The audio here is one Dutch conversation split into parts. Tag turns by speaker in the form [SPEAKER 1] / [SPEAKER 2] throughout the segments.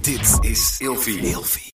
[SPEAKER 1] Dit is Ilfie.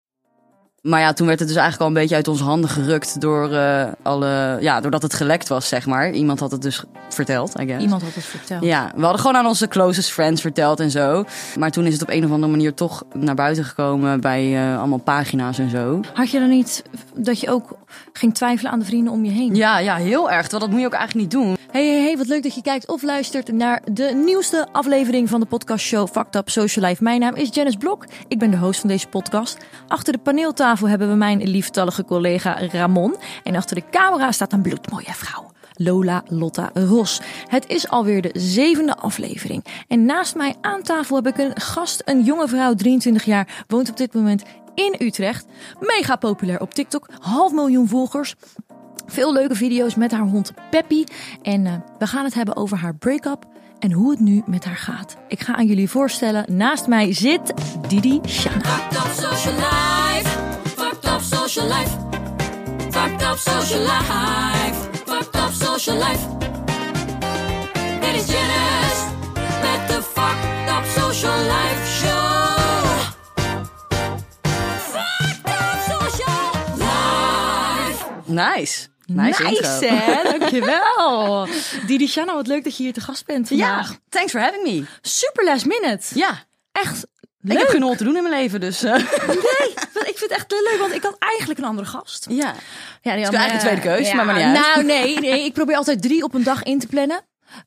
[SPEAKER 2] Maar ja, toen werd het dus eigenlijk al een beetje uit onze handen gerukt door eh, alle, ja, doordat het gelekt was, zeg maar. Iemand had het dus verteld, I guess.
[SPEAKER 3] Iemand had het verteld.
[SPEAKER 2] Ja, we hadden gewoon aan onze closest friends verteld en zo. Maar toen is het op een of andere manier toch naar buiten gekomen bij eh, allemaal pagina's en zo.
[SPEAKER 3] Had je dan niet dat je ook ging twijfelen aan de vrienden om je heen?
[SPEAKER 2] Ja, ja, heel erg. Terwijl dat moet je ook eigenlijk niet doen.
[SPEAKER 3] Hey, hey, hey, wat leuk dat je kijkt of luistert naar de nieuwste aflevering van de podcastshow Fucked Up Social Life. Mijn naam is Janice Blok, ik ben de host van deze podcast. Achter de paneeltafel hebben we mijn lieftallige collega Ramon. En achter de camera staat een bloedmooie vrouw. Lola Lotta Ros. Het is alweer de zevende aflevering. En naast mij aan tafel heb ik een gast, een jonge vrouw, 23 jaar, woont op dit moment in Utrecht. Mega populair op TikTok, half miljoen volgers. Veel leuke video's met haar hond Peppy. En eh, we gaan het hebben over haar break-up en hoe het nu met haar gaat. Ik ga aan jullie voorstellen, naast mij zit Didi Shanna.
[SPEAKER 4] Fucked up social life. Fucked up social life. Fucked up social life. Fucked up social life. Dit is Janice met de Fucked Up Social Life Show. Fucked Up Social Life.
[SPEAKER 2] Nice. Nice, intro.
[SPEAKER 3] hè? Dankjewel. Didi Shanna, wat leuk dat je hier te gast bent
[SPEAKER 2] Ja,
[SPEAKER 3] vandaag.
[SPEAKER 2] thanks for having me.
[SPEAKER 3] Super last minute.
[SPEAKER 2] Ja,
[SPEAKER 3] Echt
[SPEAKER 2] ik
[SPEAKER 3] leuk.
[SPEAKER 2] heb genoeg te doen in mijn leven, dus... eh,
[SPEAKER 3] Nee, want ik vind het echt leuk, want ik had eigenlijk een andere gast.
[SPEAKER 2] ja.
[SPEAKER 3] Ja, die
[SPEAKER 2] is eigenlijk een tweede keus, maar maar niet uit.
[SPEAKER 3] Nou, nee, nee, ik probeer altijd drie op een dag in te plannen.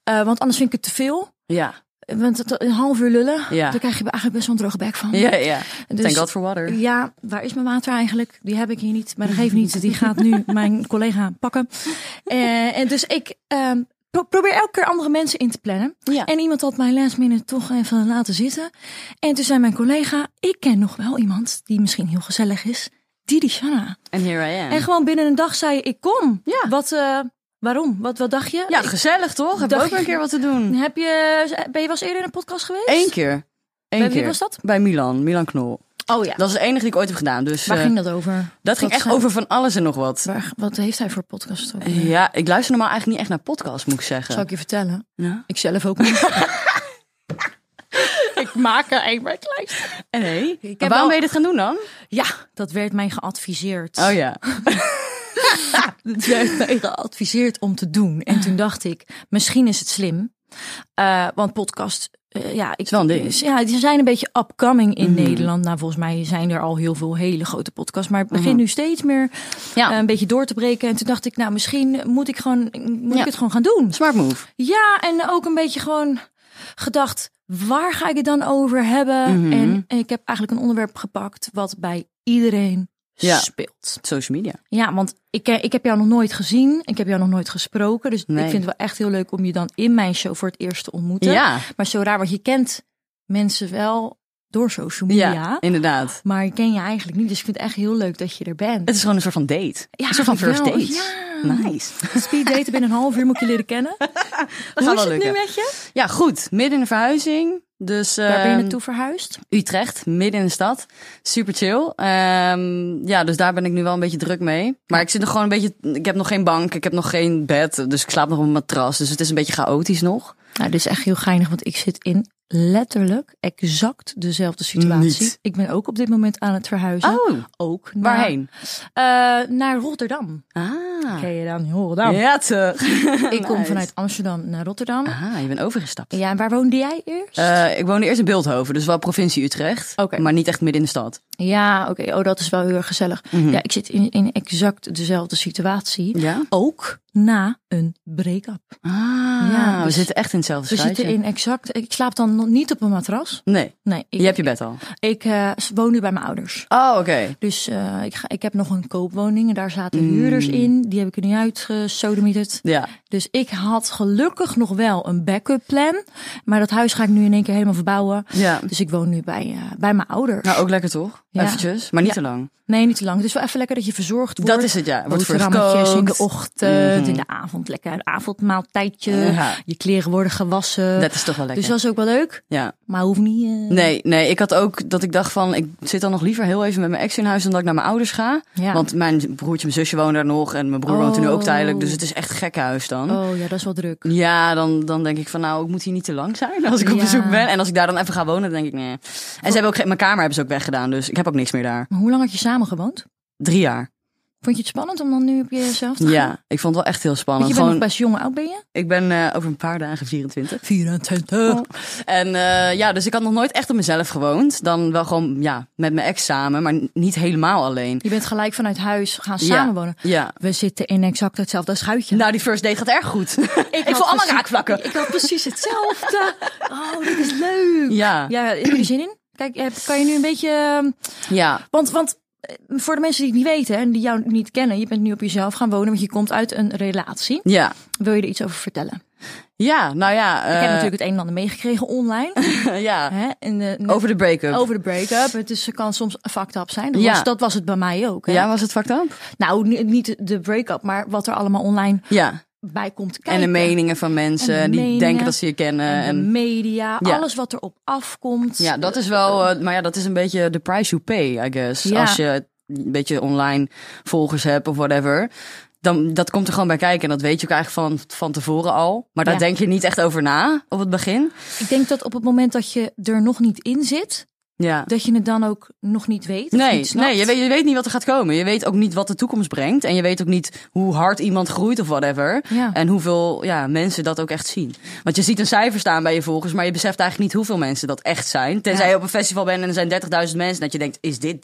[SPEAKER 3] Eh, want anders vind ik het te veel.
[SPEAKER 2] Ja,
[SPEAKER 3] Want het- een half uur lullen,
[SPEAKER 2] Ja.
[SPEAKER 3] daar krijg je eigenlijk best wel een droge bek van.
[SPEAKER 2] ja, ja.
[SPEAKER 3] Dus-
[SPEAKER 2] Thank God for water.
[SPEAKER 3] Ja, waar is mijn water eigenlijk? Die heb ik hier niet, maar dat geeft niet. Die gaat nu mijn collega pakken. Eh, en dus ik ehm, pro- probeer elke keer andere mensen in te plannen.
[SPEAKER 2] Ja.
[SPEAKER 3] En iemand had mij last minute toch even laten zitten. En toen zei mijn collega, ik ken nog wel iemand die misschien heel gezellig is. Didi Shanna.
[SPEAKER 2] En here I am.
[SPEAKER 3] En gewoon binnen een dag zei je, ik kom.
[SPEAKER 2] Ja.
[SPEAKER 3] Wat, eh, waarom? Wat, wat dacht je?
[SPEAKER 2] Ja, gezellig toch? Heb
[SPEAKER 3] Dacht
[SPEAKER 2] ook weer een
[SPEAKER 3] je-
[SPEAKER 2] keer wat te doen.
[SPEAKER 3] Heb je, ben je wel eens eerder in een podcast geweest?
[SPEAKER 2] Eén keer. Eén
[SPEAKER 3] Bij
[SPEAKER 2] keer.
[SPEAKER 3] wie was dat?
[SPEAKER 2] Bij Milan, Milan Knol.
[SPEAKER 3] Oh ja.
[SPEAKER 2] Dat is het enige die ik ooit heb gedaan. Dus
[SPEAKER 3] Waar
[SPEAKER 2] eh,
[SPEAKER 3] ging dat over?
[SPEAKER 2] dat ging
[SPEAKER 3] Wat
[SPEAKER 2] echt
[SPEAKER 3] zijn-
[SPEAKER 2] over van alles en nog wat.
[SPEAKER 3] Waar- wat heeft hij voor podcast? over?
[SPEAKER 2] Ja, ik luister normaal eigenlijk niet echt naar podcasts, moet ik zeggen.
[SPEAKER 3] Zal ik je vertellen?
[SPEAKER 2] Ja.
[SPEAKER 3] Ik zelf ook niet. ik maak er een maar
[SPEAKER 2] Nee.
[SPEAKER 3] Eh, heb
[SPEAKER 2] Maar waarom
[SPEAKER 3] wel-
[SPEAKER 2] ben je dit gaan doen dan?
[SPEAKER 3] Ja, dat werd mij geadviseerd.
[SPEAKER 2] Oh ja.
[SPEAKER 3] Dat werd mij geadviseerd om te doen. En
[SPEAKER 2] Ah.
[SPEAKER 3] toen dacht ik, misschien is het slim. Eh, want podcast, eh, ja, ik,
[SPEAKER 2] wel een ding. Mm.
[SPEAKER 3] Ja, die zijn een beetje upcoming in Nederland. Nou, volgens mij zijn er al heel veel hele grote podcasts. Maar het begint nu steeds meer
[SPEAKER 2] Mm. Ja.
[SPEAKER 3] eh, een beetje door te breken. En toen dacht ik, nou, misschien moet ik, gewoon, moet
[SPEAKER 2] Ja.
[SPEAKER 3] ik het gewoon gaan doen.
[SPEAKER 2] Smart move.
[SPEAKER 3] Ja, en ook een beetje gewoon gedacht, waar ga ik het dan over hebben?
[SPEAKER 2] Mhm.
[SPEAKER 3] En, en ik heb eigenlijk een onderwerp gepakt wat bij iedereen
[SPEAKER 2] Ja.
[SPEAKER 3] speelt.
[SPEAKER 2] Social media.
[SPEAKER 3] Ja, want ik, eh, ik heb jou nog nooit gezien, ik heb jou nog nooit gesproken. Dus
[SPEAKER 2] Nee.
[SPEAKER 3] ik vind het wel echt heel leuk om je dan in mijn show voor het eerst te ontmoeten.
[SPEAKER 2] Ja.
[SPEAKER 3] Maar zo raar, want je kent mensen wel door social
[SPEAKER 2] Ja,
[SPEAKER 3] media.
[SPEAKER 2] inderdaad.
[SPEAKER 3] Maar ik ken je eigenlijk niet, dus ik vind het echt heel leuk dat je er bent.
[SPEAKER 2] Het is gewoon een soort van date.
[SPEAKER 3] Ja,
[SPEAKER 2] een soort van first
[SPEAKER 3] wel,
[SPEAKER 2] date.
[SPEAKER 3] ja.
[SPEAKER 2] Nice.
[SPEAKER 3] Speed daten binnen een half uur moet ik je leren kennen. Dat Hoe
[SPEAKER 2] wel
[SPEAKER 3] is het
[SPEAKER 2] lukken.
[SPEAKER 3] nu met je?
[SPEAKER 2] Ja, goed. Midden in de verhuizing. Dus,
[SPEAKER 3] Waar ben je
[SPEAKER 2] ehm,
[SPEAKER 3] naartoe verhuisd?
[SPEAKER 2] Utrecht, midden in de stad. Super chill. Ehm, ja, dus daar ben ik nu wel een beetje druk mee. Maar ik zit nog gewoon een beetje. Ik heb nog geen bank, ik heb nog geen bed. Dus ik slaap nog op een matras. Dus het is een beetje chaotisch nog.
[SPEAKER 3] Nou, dit is echt heel geinig, want ik zit in letterlijk exact dezelfde situatie.
[SPEAKER 2] Niet.
[SPEAKER 3] Ik ben ook op dit moment aan het verhuizen.
[SPEAKER 2] Oh,
[SPEAKER 3] Ook naar,
[SPEAKER 2] waarheen?
[SPEAKER 3] Eh, naar Rotterdam.
[SPEAKER 2] Ah.
[SPEAKER 3] Ken je dan Rotterdam?
[SPEAKER 2] Ja, toch.
[SPEAKER 3] Ik kom vanuit Amsterdam naar Rotterdam.
[SPEAKER 2] Ah, je bent overgestapt.
[SPEAKER 3] Ja, en waar woonde jij eerst?
[SPEAKER 2] Eh, ik woonde eerst in Beeldhoven, dus wel provincie Utrecht.
[SPEAKER 3] Oké.
[SPEAKER 2] Maar niet echt midden in de stad.
[SPEAKER 3] ja, oké. Oh, dat is wel heel erg gezellig. Ja, ik zit in, in exact dezelfde situatie.
[SPEAKER 2] Mhm. Ja?
[SPEAKER 3] Ook na een break-up.
[SPEAKER 2] Ah,
[SPEAKER 3] Ja,
[SPEAKER 2] we
[SPEAKER 3] dus-
[SPEAKER 2] zitten echt in hetzelfde
[SPEAKER 3] We
[SPEAKER 2] straatje.
[SPEAKER 3] zitten in exact... Ik slaap dan nog niet op een matras.
[SPEAKER 2] Nee,
[SPEAKER 3] Nee, ik,
[SPEAKER 2] je hebt je bed al.
[SPEAKER 3] ik eh, woon nu bij mijn ouders.
[SPEAKER 2] Oh, oké.
[SPEAKER 3] Dus eh, ik, ga, ik heb nog een koopwoning en daar zaten huurders in. Die heb ik er niet eh, uitgesodemieterd.
[SPEAKER 2] Mm. Ja.
[SPEAKER 3] Dus ik had gelukkig nog wel een backup plan. Maar dat huis ga ik nu in één keer helemaal verbouwen.
[SPEAKER 2] ja.
[SPEAKER 3] Dus ik woon nu bij, eh, bij mijn ouders.
[SPEAKER 2] Nou, ook lekker toch?
[SPEAKER 3] Ja.
[SPEAKER 2] Eventjes, maar niet
[SPEAKER 3] Ja.
[SPEAKER 2] te lang.
[SPEAKER 3] Nee, niet te lang. Het is wel even lekker dat je verzorgd wordt.
[SPEAKER 2] Dat is het, ja. Wordt
[SPEAKER 3] Boterhammetjes in de
[SPEAKER 2] verkookt.
[SPEAKER 3] ochtend. uit in de avond. Lekker een avondmaaltijdje.
[SPEAKER 2] Ja.
[SPEAKER 3] Je kleren worden gewassen.
[SPEAKER 2] Dat is toch wel lekker.
[SPEAKER 3] Dus dat is ook wel leuk.
[SPEAKER 2] ja.
[SPEAKER 3] Maar hoeft niet... eh,
[SPEAKER 2] Nee, nee, ik had ook dat ik dacht van, ik zit dan nog liever heel even met mijn ex in huis dan dat ik naar mijn ouders ga.
[SPEAKER 3] Ja.
[SPEAKER 2] Want mijn broertje, mijn zusje wonen daar nog en mijn broer woont er nu ook
[SPEAKER 3] Oh.
[SPEAKER 2] tijdelijk. Dus het is echt gek huis dan.
[SPEAKER 3] Oh ja, dat is wel druk.
[SPEAKER 2] Ja, dan, dan denk ik van nou, ik moet hier niet te lang zijn als ik op
[SPEAKER 3] Ja.
[SPEAKER 2] bezoek ben. En als ik daar dan even ga wonen, dan denk ik nee. En ze hebben ook geen, mijn kamer hebben ze ook weggedaan, dus ik heb ook niks meer daar.
[SPEAKER 3] Maar hoe lang had je samen gewoond?
[SPEAKER 2] Drie jaar.
[SPEAKER 3] Vond je het spannend om dan nu op jezelf te gaan?
[SPEAKER 2] Ja, ik vond het wel echt heel
[SPEAKER 3] Want
[SPEAKER 2] spannend.
[SPEAKER 3] je bent
[SPEAKER 2] Gewoon,
[SPEAKER 3] nog best jong. Hoe oud ben je?
[SPEAKER 2] Ik ben eh, over een paar dagen 24.
[SPEAKER 3] 24.
[SPEAKER 2] Oh. En eh, ja, dus ik had nog nooit echt op mezelf gewoond. Dan wel gewoon ja, met mijn ex samen, maar n- niet helemaal alleen.
[SPEAKER 3] Je bent gelijk vanuit huis gaan
[SPEAKER 2] Ja.
[SPEAKER 3] samenwonen.
[SPEAKER 2] Ja.
[SPEAKER 3] We zitten in exact hetzelfde schuitje.
[SPEAKER 2] Nou, die first date gaat erg goed. ik
[SPEAKER 3] had
[SPEAKER 2] voel allemaal
[SPEAKER 3] precies-
[SPEAKER 2] raakvlakken.
[SPEAKER 3] Ik had precies hetzelfde. Oh, dit is leuk.
[SPEAKER 2] Ja,
[SPEAKER 3] Ja, heb je er zin in? Kijk, heb- kan je nu een beetje... ehm,
[SPEAKER 2] ja,
[SPEAKER 3] Want, want eh, voor de mensen die het niet weten hè, en die jou niet kennen... je bent nu op jezelf gaan wonen, want je komt uit een relatie.
[SPEAKER 2] ja.
[SPEAKER 3] Wil je er iets over vertellen?
[SPEAKER 2] Ja, nou ja.
[SPEAKER 3] Ik
[SPEAKER 2] eh,
[SPEAKER 3] heb natuurlijk het een en ander meegekregen online.
[SPEAKER 2] ja.
[SPEAKER 3] hè, en, eh, net
[SPEAKER 2] Over de break-up.
[SPEAKER 3] over de break-up. Het is, kan soms fucked up zijn. Dat,
[SPEAKER 2] Ja.
[SPEAKER 3] was, dat was het bij mij ook. Hè?
[SPEAKER 2] Ja, was het fucked up?
[SPEAKER 3] Nou, ni- niet de break-up, maar wat er allemaal online
[SPEAKER 2] Ja.
[SPEAKER 3] bij komt kijken.
[SPEAKER 2] En de meningen van mensen
[SPEAKER 3] En de
[SPEAKER 2] die
[SPEAKER 3] meningen.
[SPEAKER 2] denken dat ze je kennen.
[SPEAKER 3] En de
[SPEAKER 2] En
[SPEAKER 3] media,
[SPEAKER 2] Ja.
[SPEAKER 3] alles wat erop afkomt.
[SPEAKER 2] ja, dat is wel. eh, maar ja, dat is een beetje de price you pay, I guess.
[SPEAKER 3] Ja.
[SPEAKER 2] Als je een beetje online volgers hebt of whatever. Dan, dat komt er gewoon bij kijken. En dat weet je ook eigenlijk van, van tevoren al. Maar daar
[SPEAKER 3] Ja.
[SPEAKER 2] denk je niet echt over na op het begin.
[SPEAKER 3] Ik denk dat op het moment dat je er nog niet in zit,
[SPEAKER 2] Ja.
[SPEAKER 3] dat je het dan ook nog niet weet. of
[SPEAKER 2] Nee,
[SPEAKER 3] niet snapt.
[SPEAKER 2] nee je, weet, je weet niet wat er gaat komen. Je weet ook niet wat de toekomst brengt. En je weet ook niet hoe hard iemand groeit of whatever.
[SPEAKER 3] Ja.
[SPEAKER 2] En hoeveel ja, mensen dat ook echt zien. Want je ziet een cijfer staan bij je volgers, maar je beseft eigenlijk niet hoeveel mensen dat echt zijn. Tenzij
[SPEAKER 3] Ja.
[SPEAKER 2] je op een festival bent en er zijn 30.000 mensen. Dat je denkt, is dit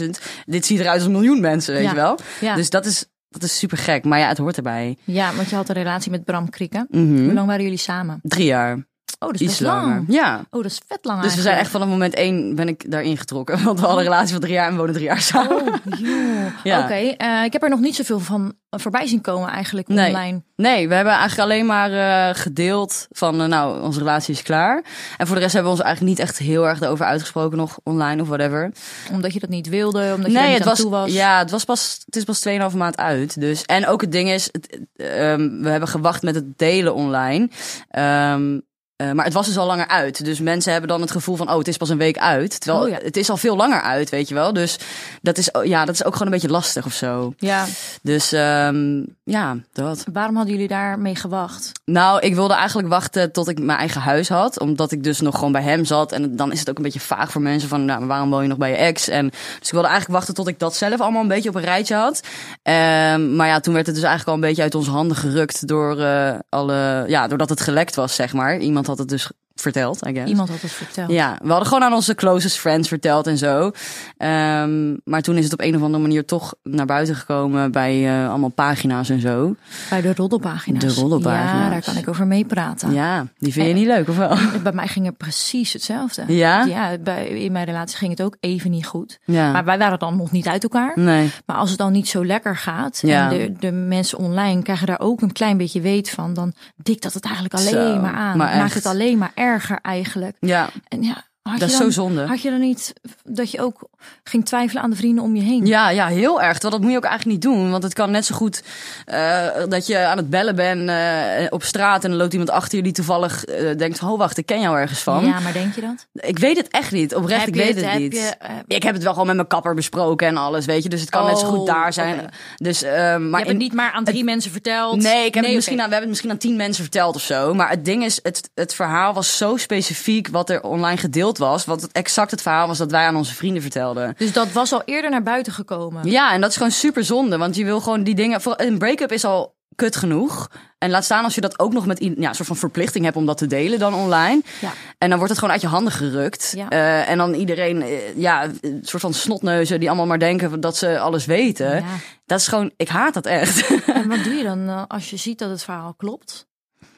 [SPEAKER 2] 30.000? Dit ziet eruit als een miljoen mensen, weet
[SPEAKER 3] Ja.
[SPEAKER 2] je wel.
[SPEAKER 3] Ja.
[SPEAKER 2] Dus dat is, dat is super gek. Maar ja, het hoort erbij.
[SPEAKER 3] ja, want je had een relatie met Bram Krieken.
[SPEAKER 2] Mhm.
[SPEAKER 3] Hoe lang waren jullie samen?
[SPEAKER 2] Drie jaar.
[SPEAKER 3] Oh, dat is
[SPEAKER 2] Iets
[SPEAKER 3] best lang.
[SPEAKER 2] langer. Ja.
[SPEAKER 3] Oh, dat is vet lang
[SPEAKER 2] Dus we zijn echt vanaf moment één ben ik daarin getrokken. Want we hadden een relatie van drie jaar en we wonen drie jaar samen.
[SPEAKER 3] Oh, joh.
[SPEAKER 2] Ja.
[SPEAKER 3] Oké, eh, ik heb er nog niet zoveel van voorbij zien komen eigenlijk
[SPEAKER 2] Nee.
[SPEAKER 3] online.
[SPEAKER 2] Nee, we hebben eigenlijk alleen maar eh, gedeeld van, eh, nou, onze relatie is klaar. En voor de rest hebben we ons eigenlijk niet echt heel erg erover uitgesproken nog online of whatever.
[SPEAKER 3] Omdat je dat niet wilde, omdat je daar niet
[SPEAKER 2] het
[SPEAKER 3] aan toe was.
[SPEAKER 2] Ja, het was pas, het is pas 2,5 maand uit. Dus en ook het ding is, het, eh, ehm, we hebben gewacht met het delen online. Ehm, eh, maar het was dus al langer uit. Dus mensen hebben dan het gevoel van, oh, het is pas een week uit. Terwijl
[SPEAKER 3] Oh ja.
[SPEAKER 2] het is al veel langer uit, weet je wel. Dus dat is, ja, dat is ook gewoon een beetje lastig of zo.
[SPEAKER 3] Ja.
[SPEAKER 2] Dus ehm, ja, dat.
[SPEAKER 3] Waarom hadden jullie daarmee gewacht?
[SPEAKER 2] Nou, ik wilde eigenlijk wachten tot ik mijn eigen huis had. Omdat ik dus nog gewoon bij hem zat. En dan is het ook een beetje vaag voor mensen van, nou, maar waarom woon je nog bij je ex? En, dus ik wilde eigenlijk wachten tot ik dat zelf allemaal een beetje op een rijtje had. Ehm, maar ja, toen werd het dus eigenlijk al een beetje uit onze handen gerukt door eh, alle, ja, doordat het gelekt was, zeg maar. Iemand had het dus verteld, I guess.
[SPEAKER 3] Iemand had het verteld.
[SPEAKER 2] Ja, we hadden gewoon aan onze closest friends verteld en zo. Ehm, maar toen is het op een of andere manier toch naar buiten gekomen bij eh, allemaal pagina's en zo.
[SPEAKER 3] Bij de roddelpagina's.
[SPEAKER 2] De roddelpagina's.
[SPEAKER 3] Ja, daar kan ik over meepraten.
[SPEAKER 2] Ja, die vind je niet leuk, of wel?
[SPEAKER 3] Bij mij ging het precies hetzelfde.
[SPEAKER 2] Ja?
[SPEAKER 3] Ja, bij, in mijn relatie ging het ook even niet goed.
[SPEAKER 2] Ja.
[SPEAKER 3] Maar wij waren dan nog niet uit elkaar.
[SPEAKER 2] Nee.
[SPEAKER 3] Maar als het dan niet zo lekker gaat,
[SPEAKER 2] Ja.
[SPEAKER 3] en de, de mensen online krijgen daar ook een klein beetje weet van, dan dikt dat het eigenlijk alleen
[SPEAKER 2] Zo,
[SPEAKER 3] maar aan.
[SPEAKER 2] maar
[SPEAKER 3] Het maakt
[SPEAKER 2] echt.
[SPEAKER 3] het alleen maar erger eigenlijk.
[SPEAKER 2] Ja,
[SPEAKER 3] En ja, had
[SPEAKER 2] dat
[SPEAKER 3] je
[SPEAKER 2] is
[SPEAKER 3] dan,
[SPEAKER 2] zo zonde.
[SPEAKER 3] Had je dan niet dat je ook ging twijfelen aan de vrienden om je heen?
[SPEAKER 2] Ja, ja, heel erg. Terwijl dat moet je ook eigenlijk niet doen. Want het kan net zo goed eh, dat je aan het bellen bent eh, op straat... en er loopt iemand achter je die toevallig eh, denkt... oh, wacht, ik ken jou ergens van.
[SPEAKER 3] Ja, maar denk je dat?
[SPEAKER 2] Ik weet het echt niet. Oprecht, ik
[SPEAKER 3] je
[SPEAKER 2] weet het,
[SPEAKER 3] heb
[SPEAKER 2] niet.
[SPEAKER 3] Je, eh,
[SPEAKER 2] Ik heb het wel gewoon met mijn kapper besproken en alles, weet je. Dus het kan net zo goed
[SPEAKER 3] Oh,
[SPEAKER 2] daar zijn.
[SPEAKER 3] oké.
[SPEAKER 2] Dus, eh,
[SPEAKER 3] je
[SPEAKER 2] maar
[SPEAKER 3] hebt
[SPEAKER 2] in-
[SPEAKER 3] het niet maar aan drie mensen verteld.
[SPEAKER 2] Nee, ik heb het misschien
[SPEAKER 3] oké.
[SPEAKER 2] aan, we hebben het misschien aan tien mensen verteld of zo. Maar het ding is, het, het verhaal was zo specifiek wat er online gedeeld was. Want het exact het verhaal was dat wij aan onze vrienden vertelden.
[SPEAKER 3] Dus dat was al eerder naar buiten gekomen.
[SPEAKER 2] Ja, en dat is gewoon super zonde. Want je wil gewoon die dingen. voor- Een break-up is al kut genoeg. En laat staan als je dat ook nog met i- ja, een soort van verplichting hebt om dat te delen dan online.
[SPEAKER 3] Ja.
[SPEAKER 2] En dan wordt het gewoon uit je handen gerukt.
[SPEAKER 3] Ja.
[SPEAKER 2] Eh, en dan iedereen, eh, ja, een soort van snotneuzen die allemaal maar denken dat ze alles weten.
[SPEAKER 3] Ja.
[SPEAKER 2] Dat is gewoon, ik haat dat echt.
[SPEAKER 3] En wat doe je dan eh, als je ziet dat het verhaal klopt?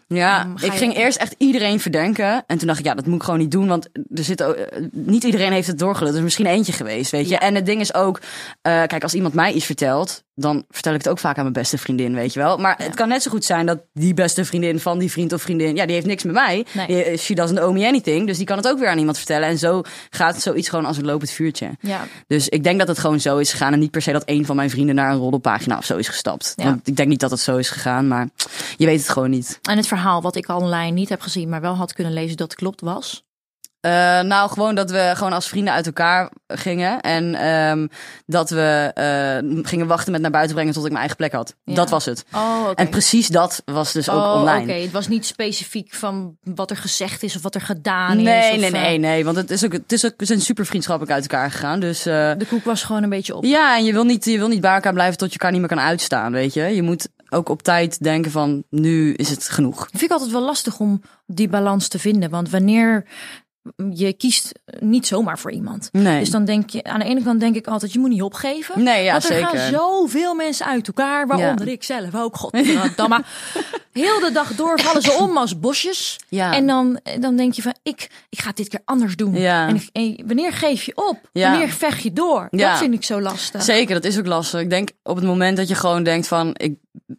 [SPEAKER 2] Ja,
[SPEAKER 3] Ehm, ga
[SPEAKER 2] ik
[SPEAKER 3] je-
[SPEAKER 2] ging eerst echt iedereen verdenken. En toen dacht ik, ja, dat moet ik gewoon niet doen. Want er zit, ook- eh, niet iedereen heeft het doorgeluld. Er is misschien eentje geweest, weet je.
[SPEAKER 3] Ja.
[SPEAKER 2] En het ding is ook, eh, kijk, als iemand mij iets vertelt... dan vertel ik het ook vaak aan mijn beste vriendin, weet je wel. Maar het kan net zo goed zijn dat die beste vriendin van die vriend of vriendin... ja, die heeft niks met mij.
[SPEAKER 3] Nee.
[SPEAKER 2] Die, she doesn't owe me anything. Dus die kan het ook weer aan iemand vertellen. En zo gaat zoiets gewoon als een lopend vuurtje.
[SPEAKER 3] Ja.
[SPEAKER 2] Dus ik denk dat het gewoon zo is gegaan. En niet per se dat een van mijn vrienden naar een roddelpagina of zo is gestapt.
[SPEAKER 3] Ja.
[SPEAKER 2] Want ik denk niet dat het zo is gegaan, maar je weet het gewoon niet.
[SPEAKER 3] En het verhaal wat ik online niet heb gezien, maar wel had kunnen lezen dat het klopt was.
[SPEAKER 2] Eh, nou, gewoon dat we gewoon als vrienden uit elkaar gingen. En ehm, dat we eh, gingen wachten met naar buiten brengen tot ik mijn eigen plek had.
[SPEAKER 3] Ja.
[SPEAKER 2] Dat was het.
[SPEAKER 3] Oh, oké.
[SPEAKER 2] En precies dat was dus ook
[SPEAKER 3] oh,
[SPEAKER 2] online.
[SPEAKER 3] Oké, het was niet specifiek van wat er gezegd is of wat er gedaan is.
[SPEAKER 2] Nee,
[SPEAKER 3] of,
[SPEAKER 2] nee,
[SPEAKER 3] eh,
[SPEAKER 2] nee, nee. Want het is ook, het is ook, we zijn super vriendschappelijk uit elkaar gegaan. Dus eh,
[SPEAKER 3] De koek was gewoon een beetje op.
[SPEAKER 2] ja, en je wil, niet, je wil niet bij elkaar blijven tot je elkaar niet meer kan uitstaan, weet je. Je moet ook op tijd denken van, nu is het genoeg.
[SPEAKER 3] Vind ik altijd wel lastig om die balans te vinden. Want wanneer je kiest niet zomaar voor iemand.
[SPEAKER 2] Nee.
[SPEAKER 3] Dus dan denk je, aan de ene kant denk ik altijd, je moet niet opgeven.
[SPEAKER 2] Nee, ja,
[SPEAKER 3] want er gaan
[SPEAKER 2] zeker.
[SPEAKER 3] zoveel mensen uit elkaar, waaronder ik zelf ook. Godverdamme. Heel de dag door vallen ze om als bosjes.
[SPEAKER 2] Ja.
[SPEAKER 3] En dan, dan denk je van, ik, ik ga het dit keer anders doen.
[SPEAKER 2] Ja.
[SPEAKER 3] En, ik- en wanneer geef je op?
[SPEAKER 2] Ja.
[SPEAKER 3] Wanneer vecht je door?
[SPEAKER 2] Ja.
[SPEAKER 3] Dat vind ik zo lastig.
[SPEAKER 2] Zeker, dat is ook lastig. Ik denk op het moment dat je gewoon denkt van, ik,